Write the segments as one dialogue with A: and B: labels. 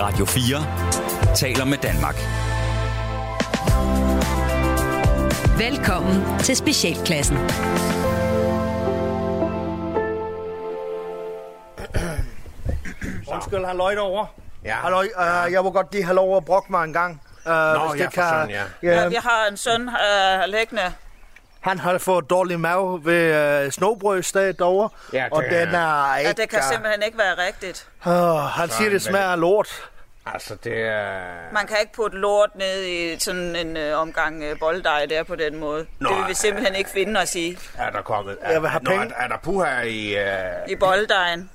A: Radio 4 taler med Danmark.
B: Velkommen til Specialklassen.
C: Undskyld, har løjt over.
D: Ja.
C: Halløj, øh, jeg må godt lige have lov at brokke mig en gang. Uh,
D: Nå, ja, for søren, ja.
E: Ja, vi har en søn øh, liggende.
C: Han har fået dårlig mave ved øh, snobrødsdag derovre,
D: Ja, det
C: og
D: er-
C: den er ikke...
E: Ja, det kan simpelthen ikke være rigtigt.
C: øh, han siger, det
D: Sådan,
C: smager af lort.
D: Altså, det er...
E: Man kan ikke putte lort ned i sådan en øh, omgang øh, bolddej der på den måde.
D: Nå,
E: det vil vi simpelthen ikke finde os i,
D: Er der kommet... Er,
C: Jeg vil have
D: Nå,
C: penge.
D: Er, er der puha i... Øh...
E: i bolddejen.
D: Nej,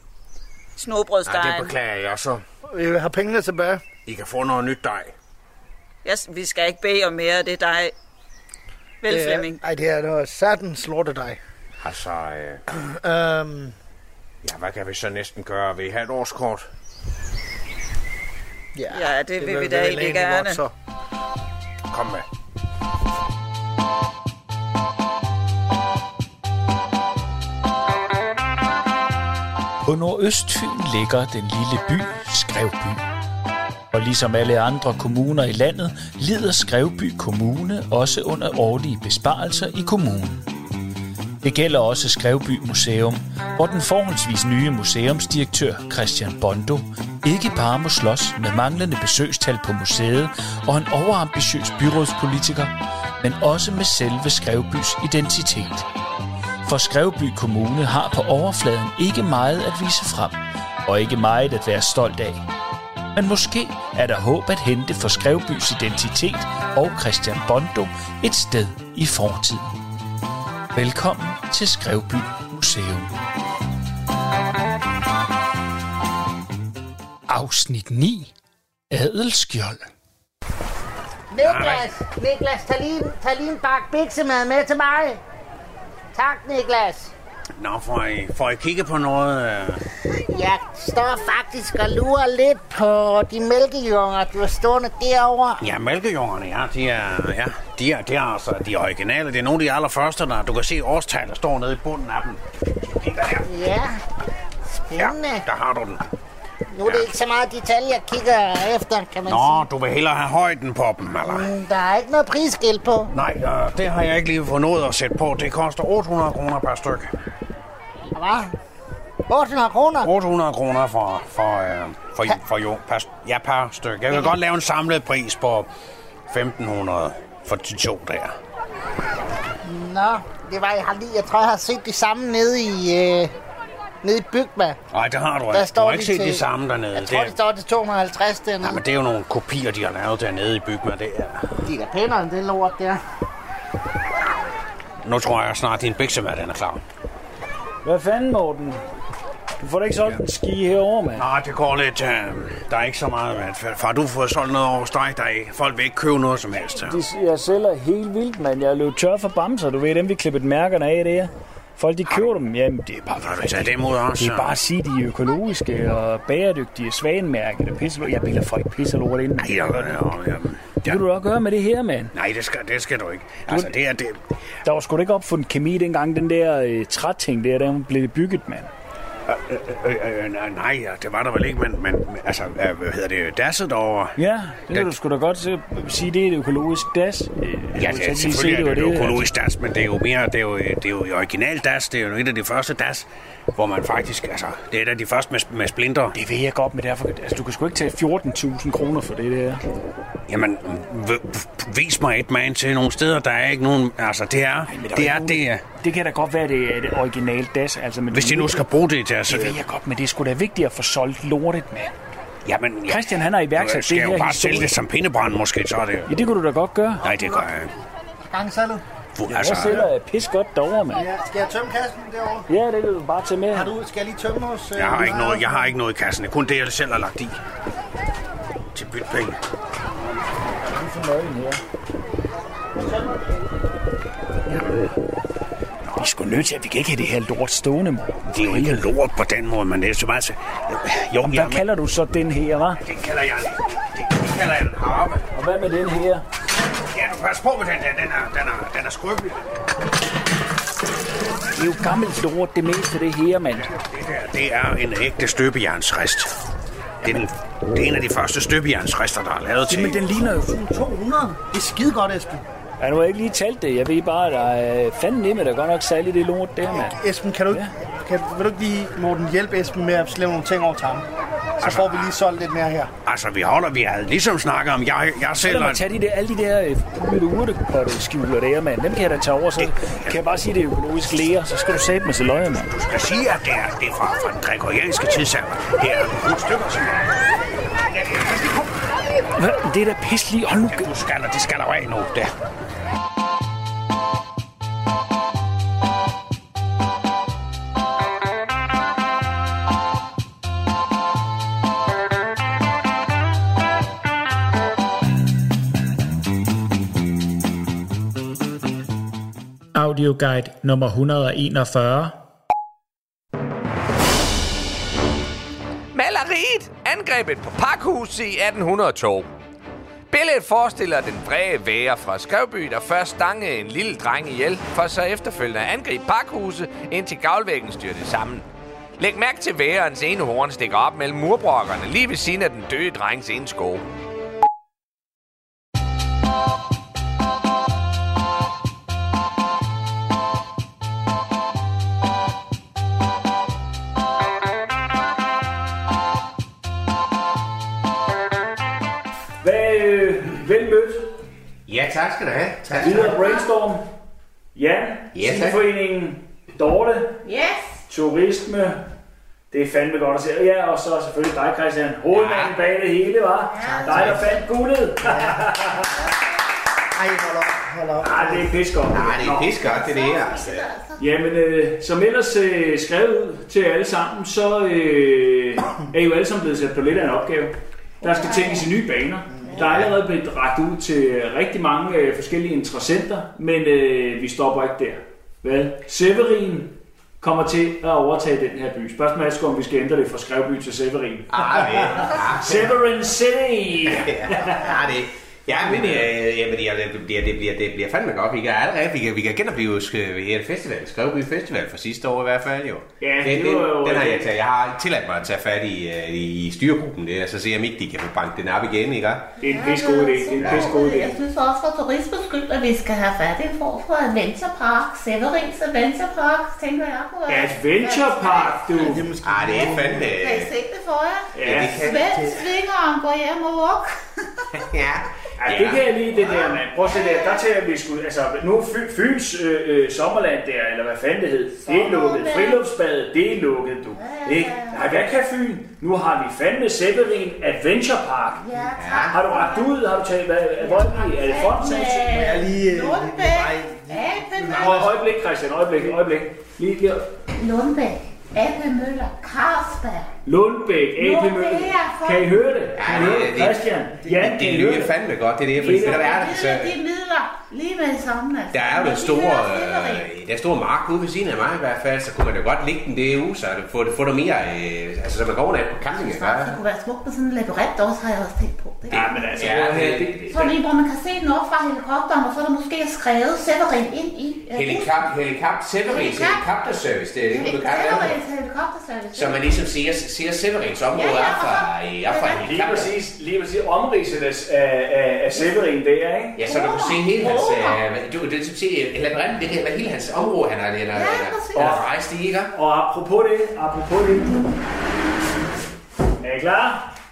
D: det
E: Snobrødsdejen.
D: beklager jeg så.
C: Jeg vil Øh, have pengene tilbage.
D: I kan få noget nyt dej.
E: Jeg, vi skal ikke bede om mere af det dej. Vel,
D: Øh.
C: Det er-
E: Flemming?
C: Ej, det er noget satans lortedej.
D: Altså, øh...
C: Øhm,
D: ja, hvad kan vi så næsten gøre? Vil I have et årskort?
E: Ja, det vil vi
C: vil
E: da
C: vel
E: egentlig
C: egentlig godt,
E: gerne.
C: så.
D: Kom med.
F: På Nordøstfyn ligger den lille by Skrevby. Og ligesom alle andre kommuner i landet, lider Skrevby Kommune også under årlige besparelser i kommunen. Det gælder også Skrevby Museum, hvor den forholdsvis nye museumsdirektør Christian Bondo ikke bare må slås med manglende besøgstal på museet og en overambitiøs byrådspolitiker, men også med selve Skrevbys identitet. For Skrevby Kommune har på overfladen ikke meget at vise frem, og ikke meget at være stolt af. Men måske er der håb at hente for Skrevbys identitet og Christian Bondo et sted i fortiden. Velkommen til Skrevby Museum. Afsnit 9. Adelskjold.
G: Niklas, Niklas, tag lige, tag lige en bakke biksemad med til mig. Tak, Niklas.
D: Nå, får I, får I kigge på noget? Øh...
G: Jeg står faktisk og lurer lidt på de mælkejunger, du har stående derovre.
D: Ja, mælkejungerne, ja, de er, ja, de er, de er altså de originale. Det er nogle af de allerførste, der du kan se årstal, der står nede i bunden af dem. Kig der.
G: Ja,
D: Ja,
G: spændende.
D: der har du den.
G: Nu er det ikke så meget detaljer, jeg kigger efter, kan man
D: Nå,
G: sige.
D: du vil hellere have højden på dem, eller?
G: Mm, Der er ikke noget prisskilt på.
D: Nej, øh, det har jeg ikke lige fået noget at sætte på. Det koster 800 kroner per stykke.
G: Hvad? 800 kroner?
D: 800 kroner for, for, øh, for, for jo, per, ja, per stykke. Jeg kan godt lave en samlet pris på 1500 for de to der.
G: Nå, det var jeg har lige. Jeg tror, jeg har set de samme nede i, øh, nede i Bygma.
D: Nej, det har du
G: Der
D: ikke. Du
G: står
D: har
G: de
D: ikke set
G: til-
D: de samme dernede.
G: Jeg tror,
D: Det-
G: det står til 250 dernede.
D: Nej, men det er jo nogle kopier, de har lavet dernede i Bygma. Det er...
G: De er da pænere end det lort der.
D: Nu tror jeg snart, din biksemad den er klar.
H: Hvad fanden, Morten? Du får da ikke solgt en ski herovre, mand.
D: Nej, det går lidt... Øh, der er ikke så meget... Med. Far, du får solgt noget over hos dig. Der er, ikke- folk vil ikke købe noget som helst.
H: De, jeg sælger helt vildt, mand. Jeg løb tør for bamser. Du ved, dem vi klippet mærkerne af, det er. Folk, de køber dem. Jamen, det er bare...
D: Har du taget det mod os?
H: Det er bare at sige, de er økologiske og bæredygtige svanemærke. Det pisser Jeg bilder folk pisser lort ind.
D: Nej, jeg, jeg, jeg, jeg,
H: Det kan du da gøre med det her, mand.
D: nej det, skal, det skal du ikke. Altså, det er det...
H: Der var sgu da ikke opfundet kemi dengang, den der øh, træting der, der blev bygget, mand.
D: Øh, øh, øh, nej, nej, ja, det var der vel ikke, men... men men, altså, øh, hvad hedder det? Dasset over...
H: Ja, det kan
D: Den-
H: du sgu da godt se, sige, det er et økologisk das. Øh,
D: Ja,
H: så kan
D: det,
H: vi
D: selvfølgelig
H: se,
D: er det jo
H: var
D: økologisk das, men det er jo mere, det er jo, øh, det er jo original das, det er jo et af de første das, hvor man faktisk, altså, det er et af de første med, med splinter.
H: Det ved jeg godt, men derfor, altså, du kan sgu ikke tage 14.000 kroner for det der.
D: Jamen, v- v- vis mig et man til nogle steder, der er ikke nogen... Altså, det er...
H: men der
D: det
H: jo
D: er
H: ikke
D: det. er-
H: Det kan da godt være, det er det originale DAS. Altså, men
D: Hvis de nu skal bruge det til at...
H: Det ved jeg godt, men det er sgu da vigtigt at få solgt lortet, mand.
D: Jamen, ja.
H: Christian, han har iværksat
D: skal
H: det
D: jeg jo
H: her
D: bare
H: historie.
D: sælge det som pindebrand, måske, så er det...
H: Ja, det kunne du da godt gøre.
D: Nej, det gør jeg ikke. altså,
G: Gang så du.
D: Fu-
H: Jeg sælger jeg pis godt derovre, mand.
C: Ja, skal jeg tømme kassen derovre?
H: Ja, det kan du bare tage med.
C: Har du, skal jeg lige tømme hos... Øh,
D: jeg har, ikke
C: lejren?
D: noget, jeg har ikke noget i kassen. Det er kun det, jeg selv har lagt i. Til bytpenge.
H: Vi er sgu nødt til, at vi kan ikke have det her lort stående, mor.
D: Det er jo ikke lort på den måde, men det er så meget... så- Jo,
H: Hvad
D: jamen,
H: kalder du så den her, hva'?
D: det kalder jeg... Det, det kalder jeg den harpe.
H: Og hvad med den her?
D: Ja, du pas på med den der. Den er, den er, den er skrøbelig.
H: Det er jo gammelt lort, det meste af det her, mand.
D: Det der, det er en ægte støbejernsrist. Det er, den, det er en af de første støbejernsrester, der er lavet til.
H: Men den ligner jo...
C: 200? Det er skide godt, Esben.
H: Ja, nu har jeg ikke lige talt det. Jeg ved bare, der er fanden nemme, der er godt nok særligt det lort der, mand.
C: Esben, kan du ikke, kan, vil du ikke lige, Morten, hjælpe Esben med at slæve nogle ting over til ham? Så får vi lige solgt lidt mere her.
D: Altså, vi holder, vi har ligesom snakket om, jeg, jeg
H: Så lad
D: sælger...
H: mig tage de der, alle de der øh, med urtepotteskjuler der, mand. Dem kan jeg da tage over, så kan jeg bare sige, det er økologisk læger, så skal du sætte med til løje, mand.
D: Jeg siger, at det er, det er fra, fra den gregorianske tidsalder. Det er nogle stykker, som...
H: Hvad? Det er da pis lige. Hold nu.
D: Ja, du skaller, de skaller af nu, der.
F: Audioguide nummer 141.
B: Maleriet angrebet på pakhuset i 1802. Billedet forestiller den vrede være fra Skovby, der først stangede en lille dreng ihjel, for så efterfølgende at angribe pakhuset, indtil gavlvæggen styrte sammen. Læg mærke til værens ene horn stikker op mellem murbrokkerne, lige ved siden af den døde drengs ene sko.
H: Hvad, øh, vel mødt.
B: Ja, tak skal du have. Tak
H: Videre brainstorm. Jan,
B: Ja, tak.
H: Sideforeningen, Dorte. Yes. Turisme. Det er fandme godt at se. Ja, og så selvfølgelig dig, Christian. Hovedmanden ja. bag det hele, var ja, Dig, der fandt guldet. Ja.
G: Ej, hold op, hold op.
H: Ej, det er pis godt. Nej,
B: godt, det der. Altså.
H: Jamen, øh, som ellers øh, skrevet ud til jer alle sammen, så øh, er I jo alle sammen blevet sat på lidt af en opgave. Der skal tænkes i nye baner. Der er allerede blevet ragt ud til rigtig mange øh, forskellige interessenter, men øh, vi stopper ikke der. Hvad? Severin kommer til at overtage den her by. Spørgsmålet er sgu, om vi skal ændre det fra Skrevby til Severin.
B: Ah, ja.
H: Severin City!
B: Ja, det Ja, men øh, jamen, ja, det, bliver, det, bliver, det bliver fandme godt. Vi kan allerede vi kan, vi kan genopleve sk- ved her festival, Skrevby Festival for sidste år i hvert fald jo.
H: Ja,
B: den,
H: det
B: den,
H: var jo-
B: den, har jeg, taget, jeg har tilladt mig at tage fat i, øh, i styregruppen der, så se om ikke de kan få banket den op igen, ikke?
H: Det er en pis god idé. Det er en pis god idé.
I: Jeg synes også for turismens skyld, at vi skal have fat i en form for adventurepark. Severins adventurepark, tænker jeg på.
H: Adventure Park, du!
B: Ah, det er fandme...
I: Kan I se det for jer?
H: Ja, det
I: Svend svinger og går hjem og vugge.
B: Ja.
H: Ja, det kan jeg lide, det der, mand. Prøv at se der, der tager vi sgu, altså, nu er Fy- Fyns øh, øh, sommerland der, eller hvad fanden det hed, det er lukket.
I: Sommerland.
H: Friluftsbadet, det er lukket, du.
I: ja,
H: Ikke?
I: ja.
H: Nej, hvad kan Fyn? Nu har vi fandme Severin Adventure Park.
I: Ja, tak.
H: Har du ragt ud? Har du taget, hvad, er Voldby? Er det Fonsen?
I: jeg
C: lige, øh,
I: Lundbæk.
H: Og
I: Abemøller.
H: øjeblik, Christian, øjeblik, øjeblik. Lige der.
I: Lundbæk. Abemøller. Carlsberg.
H: Lundbæk, AP
I: Lundbæk,
H: Mølle.
I: ja, for-
H: Kan I høre det? Kan
B: det-
H: I høre det?
B: det-
H: Christian, Jan, kan
B: Det
H: I høre
B: lyder
H: det?
B: fandme godt, det er det, fordi
H: Det altså. er-
B: der er
I: Det
B: så...
I: er de midler. Lige med det samme. altså.
B: Der er jo
I: Men
B: den
I: vi
B: store,
I: hører Severin.
B: øh, den store mark ude ved siden af mig i hvert fald, så kunne man jo godt ligge den det uge, så det får, det får noget mere, øh, altså så man går nat på camping. Ja,
I: Det kunne være smukt med sådan en labyrint også, har jeg også tænkt på. Det
H: Ja, men altså,
B: Ja,
H: prøv at høre,
B: det-
H: det- det-
I: Sådan en, hvor man kan se den op fra helikopteren, og så er der måske skrevet Severin ind i... øh,
B: Helikop, helikop, Severin,
I: Helikap.
B: helikopterservice, det er det,
I: Helik-
B: du kan
I: Severin
B: have.
I: til helikopterservice.
B: Så man ligesom ser, ser Severins område
I: Ja, ja,
B: op fra,
I: og så-
B: øh, op fra
I: Ja, ja.
H: Lige
B: helikopter.
H: præcis, lige præcis omridset af, af, af, af Severin der, ikke?
B: Ja, så du kan se hele hans, øh, du kan ligesom se øh, labyrinten, det kan være hele hans område, han har, eller,
I: Ja,
B: eller,
I: præcis.
B: eller rejst i, ikke?
H: Og apropos det, apropos det. Er I klar?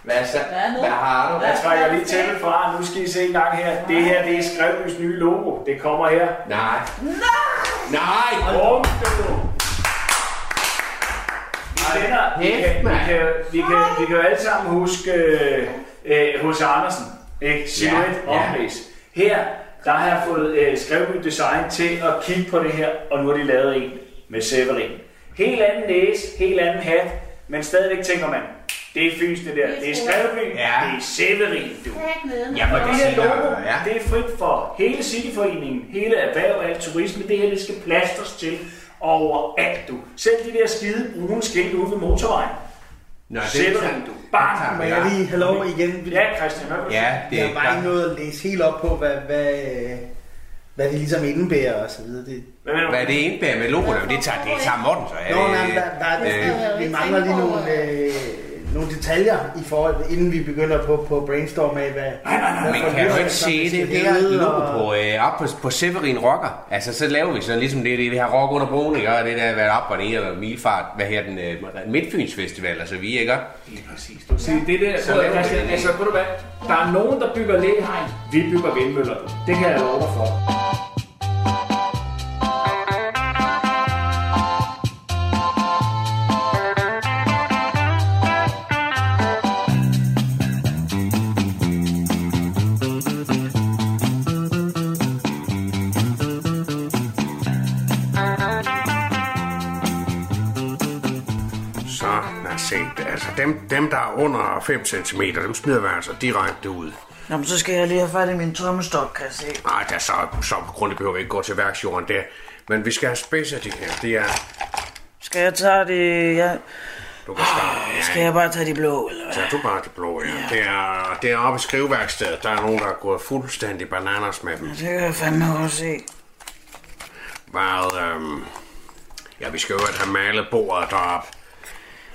B: Hvad så?
E: nu?
B: Hvad har du?
H: Jeg trækker lige tæppet fra, nu skal I se en gang her. Det her, det er Skrevbys nye logo. Det kommer her.
B: Nej. Nej! Nej!
H: Bum, du. Vi kender, vi kan, vi kan, vi kan, vi kan jo alle sammen huske øh, øh, hos Andersen, ikke? Silhouette
B: Ja,
H: ja,
B: ja.
H: Her, der har jeg fået øh, Skrevby Design til at kigge på det her, og nu har de lavet en med Severin. Helt anden næse, helt anden hat, men stadigvæk tænker man, det er Fyns det der, det er Skrevby,
B: Ja.
H: det er Severin, du.
B: Ja, men
H: Det
B: det
H: her
B: siger,
H: logo,
B: ja.
H: det er frit for hele Cityforeningen, hele erhverv og alt turisme. Det her, det skal plasters til overalt, du. Selv de der skide brune skilte ude ved motorvejen.
B: Nå,
H: Sætter den, du. Bang!
C: Må jeg lige have lov igen?
H: Ja, Christian, hvad vil du
B: Ja, det
C: Jeg
B: er
C: har bare
B: klart.
C: ikke noget at læse helt op på, hvad, hvad, øh, hvad det ligesom indebærer og så videre. Det,
H: Hvad vil du?
B: Hvad det indebærer
J: Øh,
B: med logoen, det tager, det tager Morten så. Er
C: Nå, nej,
B: det,
C: der, der,
B: øh,
C: der, vi mangler lige nogle, øh, nogle detaljer i forhold, inden vi begynder på, på brainstorm af, hvad...
J: Nej, nej, nej,
C: hvad
J: man
C: for
J: kan jo
C: løsning,
J: ikke
C: der
J: se det.
C: skal
J: Det er
C: hedde,
J: et logo
C: og-
J: på, øh, op på, på Severin Rocker. Altså, så laver vi sådan ligesom det, det vi har rock under broen, ikke? Og det der, hvad op og ned, eller milfart, hvad her den, øh, Midtfyns Festival, og så vi, ikke?
H: Lige præcis. Du siger, det der, så,
J: laver vi
H: altså,
J: det.
H: altså, ved du hvad? Der er nogen, der bygger læhegn. Vi bygger vindmøller. Det kan jeg love dig for.
D: Så, lad os se. Altså, dem, dem der er under 5 cm, dem smider vi altså direkte ud.
E: Nå, men så skal jeg lige have fat i min tommestok, kan jeg se.
D: Nej, der er så, så på grund, det behøver vi ikke gå til værksjorden der. Men vi skal have spids af det her. Det er...
E: Skal jeg tage de... Ja,
D: Du kan starte. Ja,
E: skal jeg bare tage de blå, eller hvad?
D: Ja, du bare de blå, ja. Det er, det er oppe i skriveværkstedet. Der er nogen, der er gået fuldstændig bananas med dem.
E: Det kan jeg fandme godt se.
D: Meget, øhm, ja, vi skal jo have malet bordet deroppe.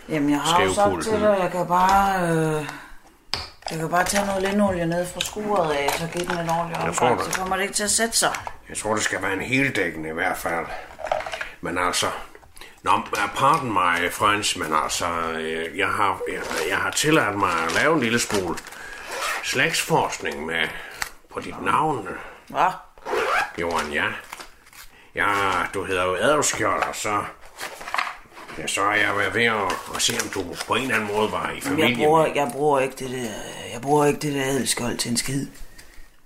E: Jamen, jeg har jo sagt
D: Skævpulten.
E: til dig, jeg kan bare... Øh, jeg kan bare tage noget linolie ned fra skuret af, så give den en ordentlig
D: Jeg får
E: omgang,
D: det.
E: så kommer det ikke til at sætte sig.
D: Jeg tror, det skal være en heldækkende i hvert fald. Men altså... Nå, pardon mig, Frans, men altså, øh, jeg har, jeg, jeg har tilladt mig at lave en lille smule slægtsforskning med på dit navn,
E: Hva?
D: Johan, ja. Ja, du hedder jo Adolfskjold, og så... Ja, så er jeg været ved at, at se, om du på en eller anden måde var i familie.
E: Jeg bruger, jeg bruger ikke det der... Jeg bruger ikke det der adelskold til en skid.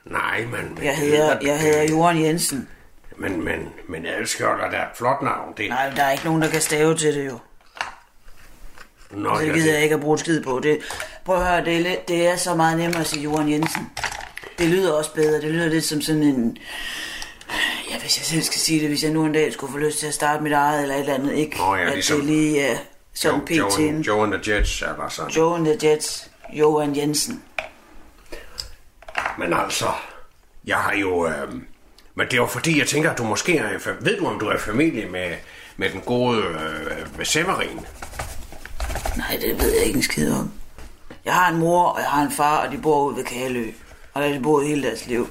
D: Nej, men... men
E: Jeg hedder, jeg hedder Johan Jensen.
D: Men, men, men Adolfskjold er da et flot navn, det...
E: Nej, der er ikke nogen, der kan stave til det jo.
D: Nå,
E: Så
D: ja,
E: det gider jeg ikke at bruge en skid på. Det, prøv at høre, det er, lidt, det er så meget nemmere at sige Johan Jensen. Det lyder også bedre. Det lyder lidt som sådan en... Ja, hvis jeg selv skal sige det, hvis jeg nu en dag skulle få lyst til at starte mit eget eller et eller andet, ikke?
D: Nå ja, ligesom-
E: At det lige er som
D: Jo- Joe,
E: PT'en.
D: Joe and the Jets er der sådan.
E: Joe and the Jets, Johan Jensen.
D: Men altså, jeg har jo... Øh, men det er jo fordi, jeg tænker, at du måske er... i fa- Ved du, om du er i familie med, med den gode øh, med Severin?
E: Nej, det ved jeg ikke en skid om. Jeg har en mor, og jeg har en far, og de bor ude ved Kalø. Og der har de boet hele deres liv.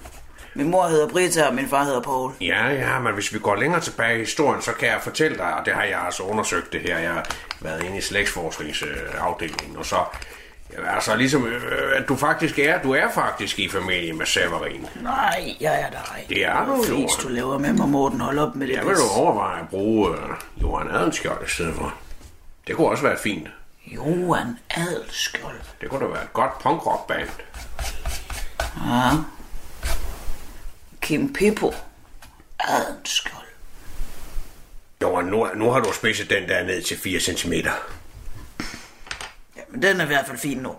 E: Min mor hedder Brita, og min far hedder Paul.
D: Ja, ja, men hvis vi går længere tilbage i historien, så kan jeg fortælle dig, og det har jeg altså undersøgt det her. Jeg har været inde i slægtsforskningsafdelingen, og så... ja, Altså ligesom, øh, at du faktisk er, du er faktisk i familie med Severin.
E: Nej, jeg er der ej.
D: Det er du,
E: Fis,
D: Johan.
E: du laver med mig, Morten. Hold op med det.
D: Jeg vil jo overveje at bruge øh, Johan Adenskjold i stedet for. Det kunne også være fint.
E: Johan Adelskjold.
D: Det kunne da være et godt punkrockband.
E: Ja. Kim Pippo Adelskjold.
D: Jo, nu, nu har du spidset den der ned til 4 cm.
E: Jamen, den er i hvert fald fin nu.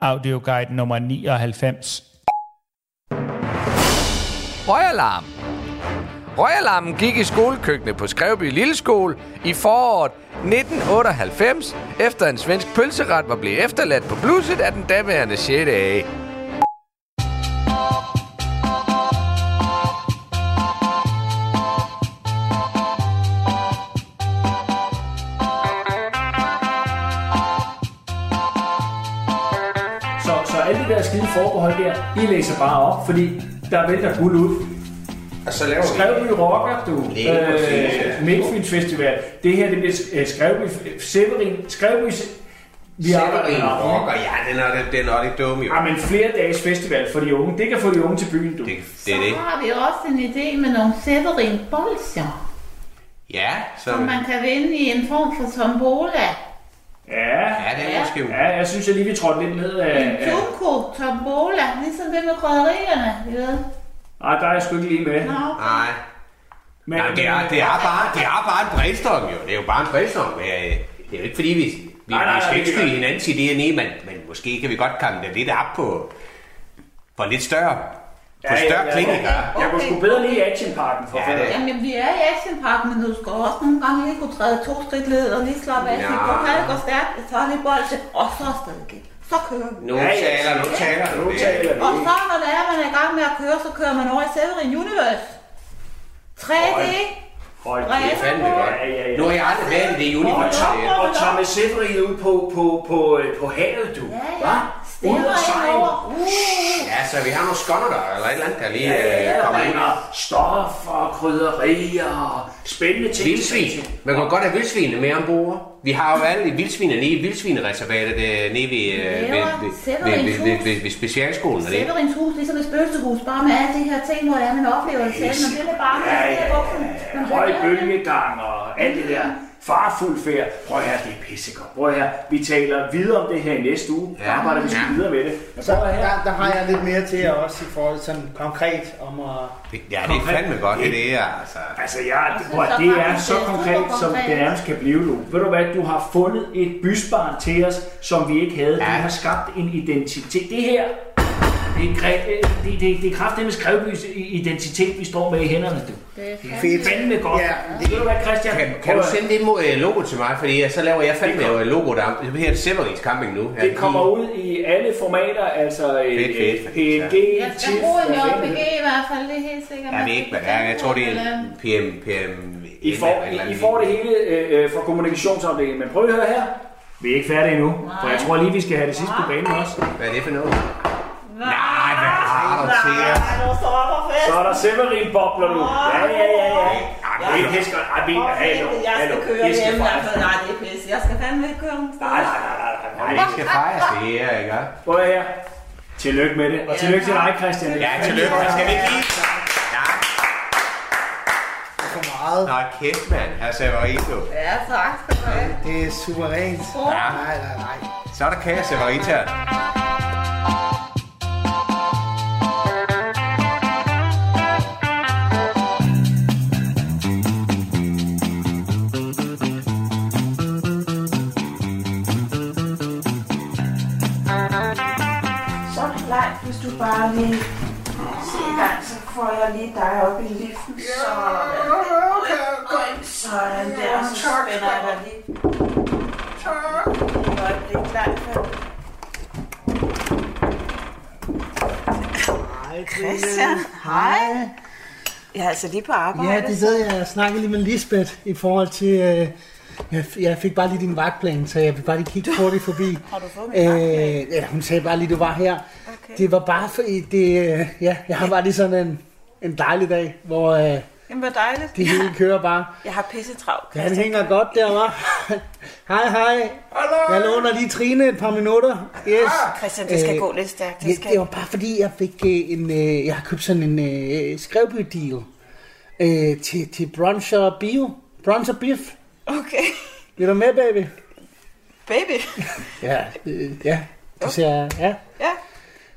K: Audioguide nummer 99.
B: Røgalarm. Røgalarmen gik i skolekøkkenet på Skrevby Lilleskole i foråret 1998, efter en svensk pølseret var blevet efterladt på blusset af den daværende 6. A.
H: Så, så alle de der skide forbehold der, I læser bare op, fordi der vælter guld ud.
D: Og så laver
H: Skrevby Rocker, du.
D: Lige præcis, ja.
H: øh, Midtfyns Festival. Det her, det bliver øh, Skrevby Severin. Skrevby... Se- Vi
D: Severin
H: arbejder-
D: rocker, ja, den er, den- den er lidt dum, jo.
H: Ja, men flere dages festival for de unge. Det kan få de unge til byen, du.
D: Det, det er
I: Så
D: det.
I: har vi også en idé med nogle Severin bolsjer,
D: Ja, så...
I: som man kan vinde i en form for Altså, tombola.
H: Ja,
D: Ja, det er måske...
H: ja jeg synes, jeg lige vi trådte lidt ned af...
I: En
H: af-
I: tunko tombola, ligesom det med krydderierne, I ved.
H: Nej, der er jeg sgu ikke lige med.
I: Nå,
D: Nej.
H: Men,
D: Nej, det er, det er bare, det er bare en brainstorm, jo. Det er jo bare en brainstorm. men, øh, Det er jo ikke fordi, vi, vi,
H: Nej, nej,
D: vi skal
H: nej,
D: ikke
H: det er
D: skyde hinandens idéer ned, men, men måske kan vi godt komme det lidt op på... For lidt større.
J: På større klinik, ja.
H: Jeg kunne sgu bedre lide actionparken for
J: Ja, det
H: fanden.
I: Jamen, vi er i actionparken, men du skal også nogle gange lige kunne træde to skridt ned og lige slappe af. Ja.
J: Ja.
I: Sige, hvor kan det gå stærkt, så er lige bolde, og så afsted igen. Så kører vi.
J: Nu taler, nu taler du.
H: Nu taler du.
I: Og så når det er, man er i gang med at køre, så kører man over i Severin Universe. 3D.
H: Hold
I: Ræser
J: Det er fandme
I: på.
J: godt. Nu har jeg aldrig været i det
H: Og,
J: univers.
H: Tom,
J: der.
H: og Thomas Severin ud på, på, på, øh, på havet, du.
I: Ja,
H: Hva?
I: ja.
H: Ud
I: Stemmer
H: og
I: ind
H: sejle.
I: over. Uh.
J: Ja, så vi har nogle skonner der, eller et eller andet, der lige
H: Ja,
J: øh,
H: ja,
J: kommer
H: man
J: ind.
H: har stof og krydderier og spændende ting.
J: Vildsvin. Man kan godt have vildsvinene med ombord. Vi har jo alle de vildsvinene nede i vildsvinereservatet øh, nede ved, øh, ved, ved, ved, ved, ved, ved, ved specialskolen. Og det.
I: Severins hus, ligesom et spøgelseshus, bare med alle de her ting, hvor det er, man oplever det selv, men det er bare med
H: Ja,
I: at
H: ja,
I: se buksen.
H: ja. Høj bølgegang og alt det der farfuld færd. Prøv her, det er pissegodt. Prøv her, vi taler videre om det her i næste uge. Ja.
J: Ja.
H: Arbejder vi sgu
J: Ja.
H: videre med det. Men
C: Så
H: prøv her.
C: der, der har jeg lidt mere til jer også i forhold til sådan konkret om at...
J: Ja, det er fandme godt, det der, altså.
H: Altså, jeg,
I: synes,
H: prøv,
I: der
H: det
I: er
H: er
I: faktisk
H: så
I: det er
H: konkret,
I: super
H: som
I: konkret.
H: det nærmest kan blive nu. Ved du hvad, du har fundet et bysbarn til os, som vi ikke havde. Du
J: Ja.
H: har skabt en identitet. Det her, det er, kræ- øh, det, det, det er kraftedeme skrevbys identitet, vi står med i hænderne, du.
C: Fedt.
H: Fandme godt.
C: Ja,
H: Ved du hvad, Christian?
J: Kan, kan du
H: Prøv at-
J: sende det mod, øh, logo til mig, fordi øh, så laver jeg fandme
H: Det kommer.
J: øh, logo der. Det hedder Severins Camping nu. Ja,
H: Det kommer ud i alle formater, altså øh,
J: Fedt, fedt, fedt,
H: PNG,
I: Jeg skal
H: TIFF,
I: bruge en
H: hvad fanden
I: JPG
H: det
I: i hvert fald, det er helt sikkert.
J: Jeg ved ikke, hvad det er. Jeg tror, det er en PM... PM
H: I får, I, I får det hele øh, øh, fra kommunikationsafdelingen, men prøv at høre her. Vi er ikke færdige endnu, for jeg tror lige, vi skal have det sidste på banen også.
J: Hvad er det for noget? Nej, hvad har du til os?
I: Nej, nu stopper fest.
H: Så er der Severin bobler nu. Ja, ja, ja, ja. Ej, det er pisse godt. Ej, vi
I: Åh,
H: hallo,
I: Jeg
H: hallo.
I: skal køre
H: I
I: hjem,
H: fejre.
I: altså. Nej, det er pisse. Jeg skal fandme ikke køre nogen
H: Nej,
I: steder.
H: nej, nej, nej,
J: Det
H: nej.
J: skal fejres, det her, ikke?
H: Prøv at høre her. Tillykke med det, og tillykke til dig, Christian.
J: Ja, tillykke. Man skal vi ikke lige... Ja,
C: Det er for meget.
J: nej, kæft, mand. Her ser jeg du.
I: Ja, tak skal du have.
C: Det er suverænt.
J: Ja,
C: Nej, nej, nej.
J: så er der kage, Severita.
E: Så Leif, hvis du bare lige ser i gang, så får jeg lige dig op i liften, så... Sådan der, så spænder jeg dig lige. Godt, det er klart for. Christian, hej. Ja, altså lige på arbejde.
C: Ja, det ved jeg. Jeg snakkede lige med Lisbeth i forhold til... Øh, jeg f- jeg fik bare lige din vagtplan, så jeg vil bare lige kigge hurtigt forbi. Har
E: du fået min
C: øh, ja, hun sagde bare lige, du var her. Okay. Det var bare for... Det, øh, ja, jeg har bare lige sådan en, en dejlig dag, hvor øh,
E: Jamen, hvor dejligt.
C: det hele kører bare.
E: Jeg har pisse travlt.
C: Han hænger godt der, var. hej, hej. Jeg låner lige Trine et par minutter. Yes.
E: Ah, Christian, det skal
C: Øh,
E: gå lidt stærkt.
C: Ja,
E: Det skal...
C: det var bare fordi, jeg fik øh, en, øh, jeg har købt sådan en øh, skrevby-deal øh, til, til brunch og bio. Brunch og biff.
E: Okay.
C: Vil du med, baby?
E: Baby.
C: Ja, øh, ja. Det ser, ja.
E: Ja.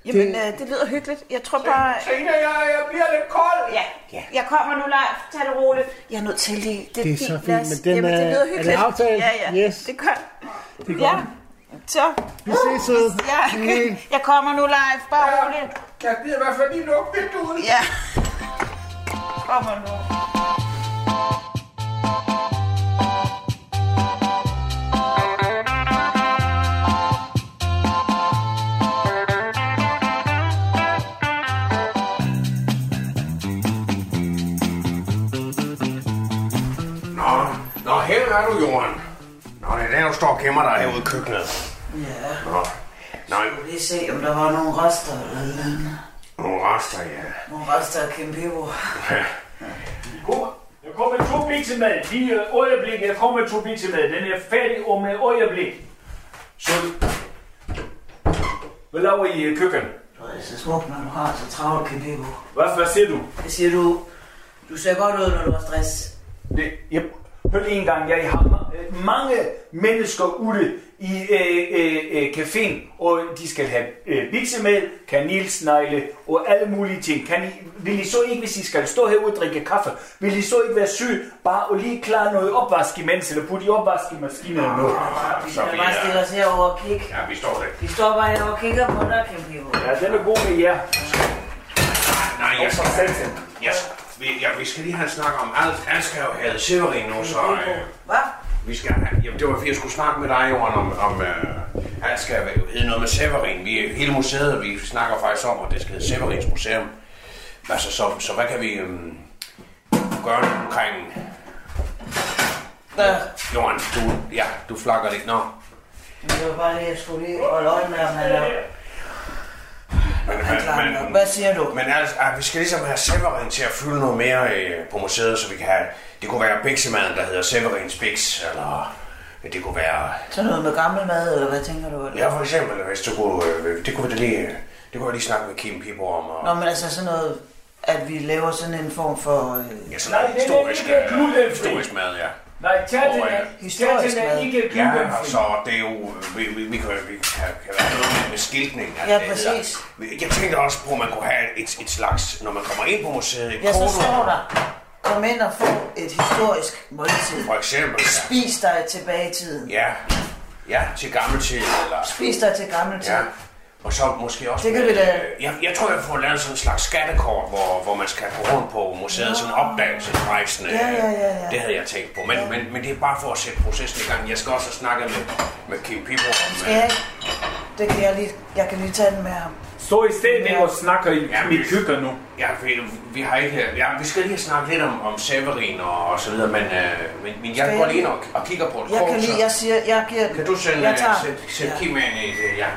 E: Jamen, øh, det lyder hyggeligt. Jeg tror bare...
J: Tænker jeg, jeg bliver lidt kold.
E: Ja,
C: Ja.
E: jeg kommer nu, Leif. Tag det roligt. Jeg er nødt til lige...
C: Det er
E: fint,
C: så fint,
E: lad os-
C: men den
E: Jamen, det
C: er-
E: lyder
C: er det
E: hyggeligt.
C: aftalt?
E: Ja, ja.
C: Yes.
E: Det gør
C: Det er
E: Ja.
C: godt.
E: Så,
C: Vi ses så.
E: ja. Jeg kommer nu, Leif. Bare roligt.
J: Jeg bliver i hvert fald lige lukket ud.
E: Ja. Kommer nu.
D: Nå, nå, her er du, Jorden. Nå, det er der, du står og gemmer dig herude i køkkenet.
E: Ja,
D: Nå, nå,
E: lige se, om der var nogle rester eller noget.
D: nogle rester, ja.
E: Nogle rester af Kim Pivo.
D: Ja.
H: Kom. Jeg kommer med to bikse mad. Lige øh, øjeblik, jeg kommer med to bikse mad. Den er færdig om et øjeblik. Så... Hvad laver I i køkkenet?
E: Det er så smukt, når du har så travlt, Kim Pivo.
H: Hvad, hvad siger du?
E: Hvad siger du? Du ser godt ud, når du har stress.
H: Det, jeg, hør lige en gang, jeg har ma- øh, mange mennesker ude i øh, øh, øh, caféen, og de skal have øh, biksemel, kanilsnegle og alle mulige ting. Kan I, vil I så ikke, hvis I skal stå herude og drikke kaffe, vil I så ikke være syg, bare og lige klare noget opvask imens, eller putte i opvaskemaskinen eller noget?
E: Vi
D: Så
E: skal
D: vi
E: bare stille
D: er,
E: os herover og kigge.
D: ja, vi står der.
E: Vi står bare herovre og kigger på dig, Kim Pivo.
H: Ja, den er god med jer.
D: Nej, Nej, jeg skal, jeg, vi, ja, vi skal lige have en snak om alt. Alt skal jo have Severin nu, så... Øh,
E: Hvad?
D: vi skal have, jamen, det var fordi, jeg skulle snakke med dig, Johan, om... om øh, alt skal jo hedde noget med Severin. Vi, hele museet, vi snakker faktisk om, at det skal hedde Severins Museum. Altså, så, så hvad kan vi øh, gøre omkring...
E: Hvad?
D: Johan, du, ja, du flakker lidt. Nå,
E: Men Det var bare det, jeg skulle lige holde øje med, om han er...
D: Men, men, men,
E: Hvad siger du?
D: Men altså, ah, vi skal ligesom have Severin til at fylde noget mere øh, på museet, så vi kan have... Det kunne være biksemaden, der hedder Severins Biks, eller... øh, Det kunne være...
E: Sådan noget med gammel mad, eller hvad tænker du?
D: Ja, for eksempel, hvis du kunne... Øh, det kunne vi da lige... øh, Det kunne jeg lige snakke med Kim Pibo om, og...
E: Nå, men altså sådan noget, at vi laver sådan en form for... Øh...
D: Ja, sådan noget historisk, øh, historisk mad, ja.
H: Nej, tag
D: Hvor
H: den
D: er
H: af.
D: det?
H: Tag den af, ikke
D: Ja, og
H: glutenfri.
D: så det er jo, øh, vi, vi, vi, kan, vi kan, kan være noget med- med skiltning. at
E: Ja,
D: det
E: præcis.
D: hedder. Jeg tænkte også på, at man kunne have et, et slags, når man kommer ind på museet, et
E: Ja, så
D: kort-
E: står der. Kom ind og få et historisk måltid.
D: For eksempel, ja.
E: Spis dig tilbage i tiden.
D: Ja, ja til gammeltid. Eller...
E: Spis dig til gammel tid.
D: Ja. Og så måske også...
E: Det kan
D: med,
E: vi da-
D: øh, Jeg, jeg tror, jeg får lavet sådan en slags skattekort, hvor, hvor man skal gå rundt på museet, sådan en opdagelsesrejsende.
E: Ja, ja, ja, ja.
D: Det havde jeg tænkt på. Men, ja. men, men det er bare for at sætte processen i gang. Jeg skal også have snakket med, med Kim Pibo. om,
E: Skal jeg ikke? Det kan jeg lige... Jeg kan lige tage den med ham.
H: Så i stedet
E: Ja.
H: for at snakke i
D: Ja,
H: mit køkken nu.
D: øh, Ja, vi, vi har ikke... Ja, vi skal lige snakke lidt om, om Severin og, og så videre, men, øh, men, men jeg
E: Skal
D: går
E: jeg-
D: lige ind og, og kigger på et
E: Jeg
D: kort,
E: kan lige... Jeg siger... Jeg giver den.
D: Kan du sende, øh,
E: jeg tager
D: sæt,
E: den.
D: sæt
E: Ja.
D: Kim ind i det? Ja.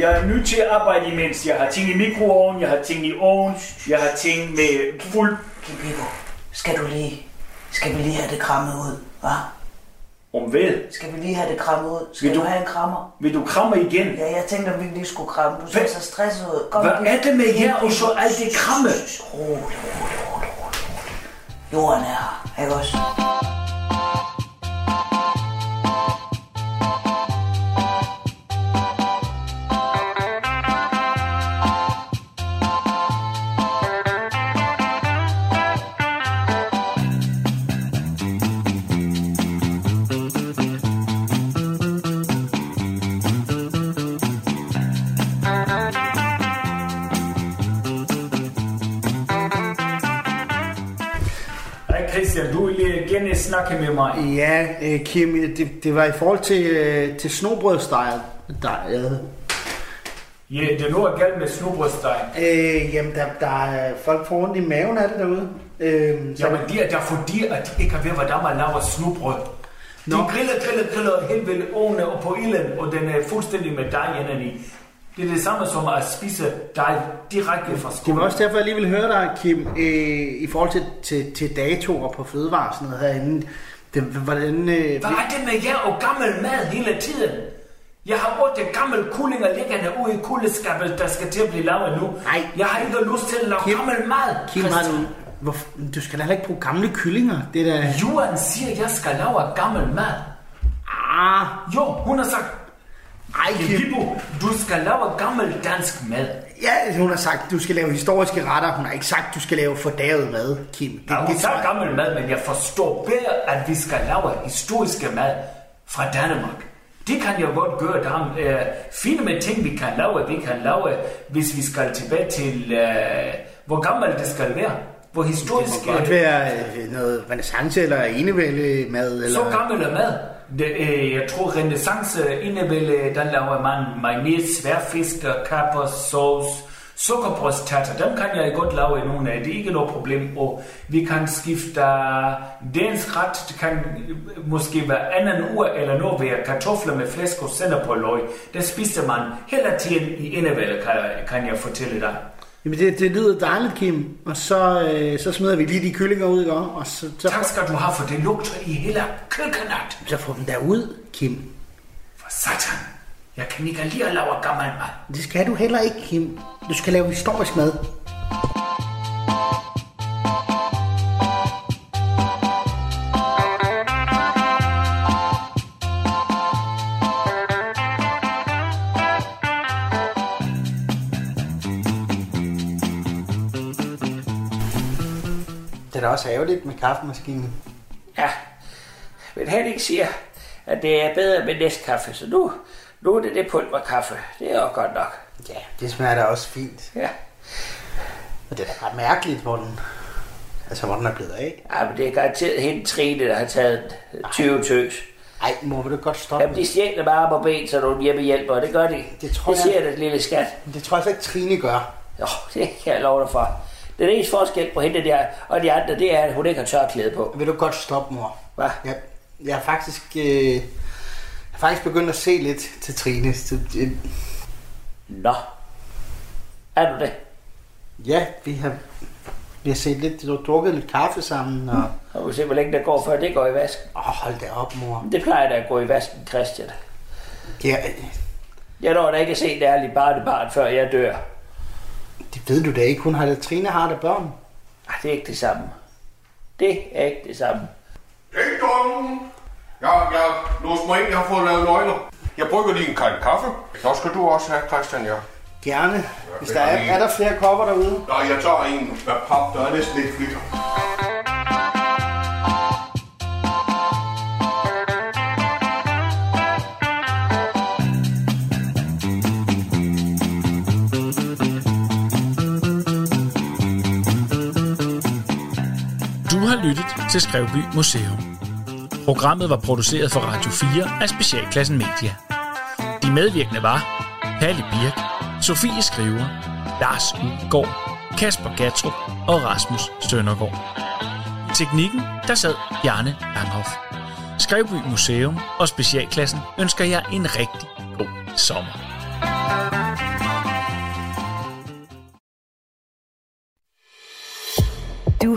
H: Jeg er nødt til at arbejde imens. Jeg har ting i mikroovnen, jeg har ting i ovnen, jeg har ting med fuld...
E: Kibibo, skal du lige... Skal vi lige have det krammet ud, hva?
H: Om hvad?
E: Skal vi lige have det krammet ud? Skal,
H: Vil
E: du...
H: du-
E: have en krammer?
H: Vil du kramme igen?
E: Ja, jeg tænkte, om vi lige skulle kramme. Du ser
H: Hvad-
E: så stresset ud. Kom,
H: Hvad
E: Bibo.
H: er det med jer og så alt det kramme?
E: Rolig, rolig, rolig, rolig. Jorden er her, ikke også?
H: Hej Christian, du vil igen snakke med mig.
C: Ja, øh, Kim, det, det var i forhold til, øh, til snobrødstyle. Der, øh,
H: Ja, det er noget galt med snobrødsdej.
C: øh, jamen, der, der er folk får ondt i maven af det derude. Øh, så,
H: Jamen det er der fordi, at de ikke ved, hvordan man laver snobrød. De
C: Nå.
H: griller, griller, griller helt ved ovnen og på ilden, og den er fuldstændig med dej indeni. Det er det samme som at spise dej direkte fra
C: det var
H: skolen.
C: også derfor, jeg lige ville høre dig, Kim, øh, i forhold til, til, til datoer på fødevarer og sådan noget herinde. Det, hvordan, øh,
H: Hvad er det med jer og gammel mad hele tiden? Jeg har otte gamle kullinger liggende ude i kuldeskabet, der skal til at blive lavet nu.
C: Nej.
H: Jeg har ikke lyst til at lave
C: Kim-
H: gammel mad.
C: Kim, har
H: Christian.
C: du, hvor, du skal da heller ikke bruge gamle kyllinger. Det der...
H: Johan siger, at jeg skal lave gammel mad.
C: Ah,
H: Jo, hun har sagt,
C: ej, Kim.
H: Bibo, du skal lave gammel dansk mad.
C: Ja, hun har sagt, du skal lave historiske retter. Hun har ikke sagt, du skal lave fordavet mad, Kim. Det,
H: Ja, hun
C: tror
H: tager
C: jeg-
H: gammel mad, men jeg forstår bedre, at vi skal lave historiske mad fra Danmark. Det kan jeg godt gøre. Der er øh, fine med ting, vi kan lave. Vi kan lave, hvis vi skal tilbage til, øh, hvor gammel det skal være. Hvor historisk...
C: Det kan godt være øh, noget renaissance eller enevælde mad. Eller...
H: Så gammel er mad. Det, øh, jeg tror, renaissance øh, indebærer, der laver man mayonnaise, sværfisk, øh, kapper, sauce, sukkerbrødstatter. Dem kan jeg godt lave i nogle af. Det er ikke noget problem. Og vi kan skifte øh, dansk ret. Det kan øh, måske være anden uge eller noget være kartofler med flæsk og sender på løg. Det spiser man hele tiden i indevælde, kan, kan jeg fortælle dig.
C: Jamen, det, det lyder dejligt, Kim. Og så, øh, så smider vi lige de kyllinger ud, ikke? Og så, så,
H: Tak skal du have, for det lugter i hele køkkenet.
C: så får dem derud, Kim.
H: For satan. Jeg kan ikke lide at lave gammel mad.
C: Det skal du heller ikke, Kim. Du skal lave historisk mad. Det er da også ærgerligt med kaffemaskinen.
L: Ja, men Henning siger, at det er bedre med næstkaffe, så nu, nu er det det pulverkaffe. Det er jo godt nok.
C: Ja, det smager da også fint.
L: Ja.
C: Men det er da ret mærkeligt, hvor den, altså, hvor den er blevet af.
L: Ej, men det er garanteret hende Trine, der har taget den. 20 tøs.
C: Ej, må du godt stoppe.
L: Jamen, de stjæler bare op og ben, så nogle hjemmehjælpere. Det gør de. Det tror det
C: jeg-
L: siger jeg. Det lille skat.
C: Men det tror jeg slet ikke, Trine gør.
L: Jo, det kan jeg love dig for. Den eneste forskel på hende der og de andre, det er, at hun ikke har tørklæde på.
C: Vil du godt stoppe, mor?
L: Hvad?
C: Ja, jeg er faktisk, øh, jeg er faktisk begyndt at se lidt til Trine. Så, øh,
L: Nå. Er du det?
C: Ja, vi har, vi har set lidt, du har drukket lidt kaffe sammen. Og...
L: Og Mm. vi se, hvor længe det går, før det går i vasken.
C: Åh, oh, hold da op, mor.
L: Det plejer da at gå i vasken, Christian.
C: Ja,
L: Jeg når da ikke at se et ærligt barnebarn, før jeg dør.
C: det ved du da ikke. Hun har da, Trine har da børn.
L: Ej, det er ikke det samme. Det er ikke det samme.
J: Ding dong! Jeg, jeg låst mig ind, jeg har fået lavet nøgler. Jeg brygger lige en kald kaffe. Så skal du også have, Christian, ja.
C: Gerne. Hvis der
J: det er
C: er,
J: lige-
C: er der flere kopper derude?
J: Nej, jeg tager en af pap, der er næsten lidt glitter.
H: Du har lyttet til Skrevby Museum. Programmet var produceret for Radio 4 af Specialklassen Media. De medvirkende var Palle Birk, Sofie Skriver, Lars Udgaard, Kasper Gattrup og Rasmus Søndergaard. I Teknikken, der sad Bjarne Langhoff. Skrevby Museum og Specialklassen ønsker jer en rigtig god sommer.
M: Du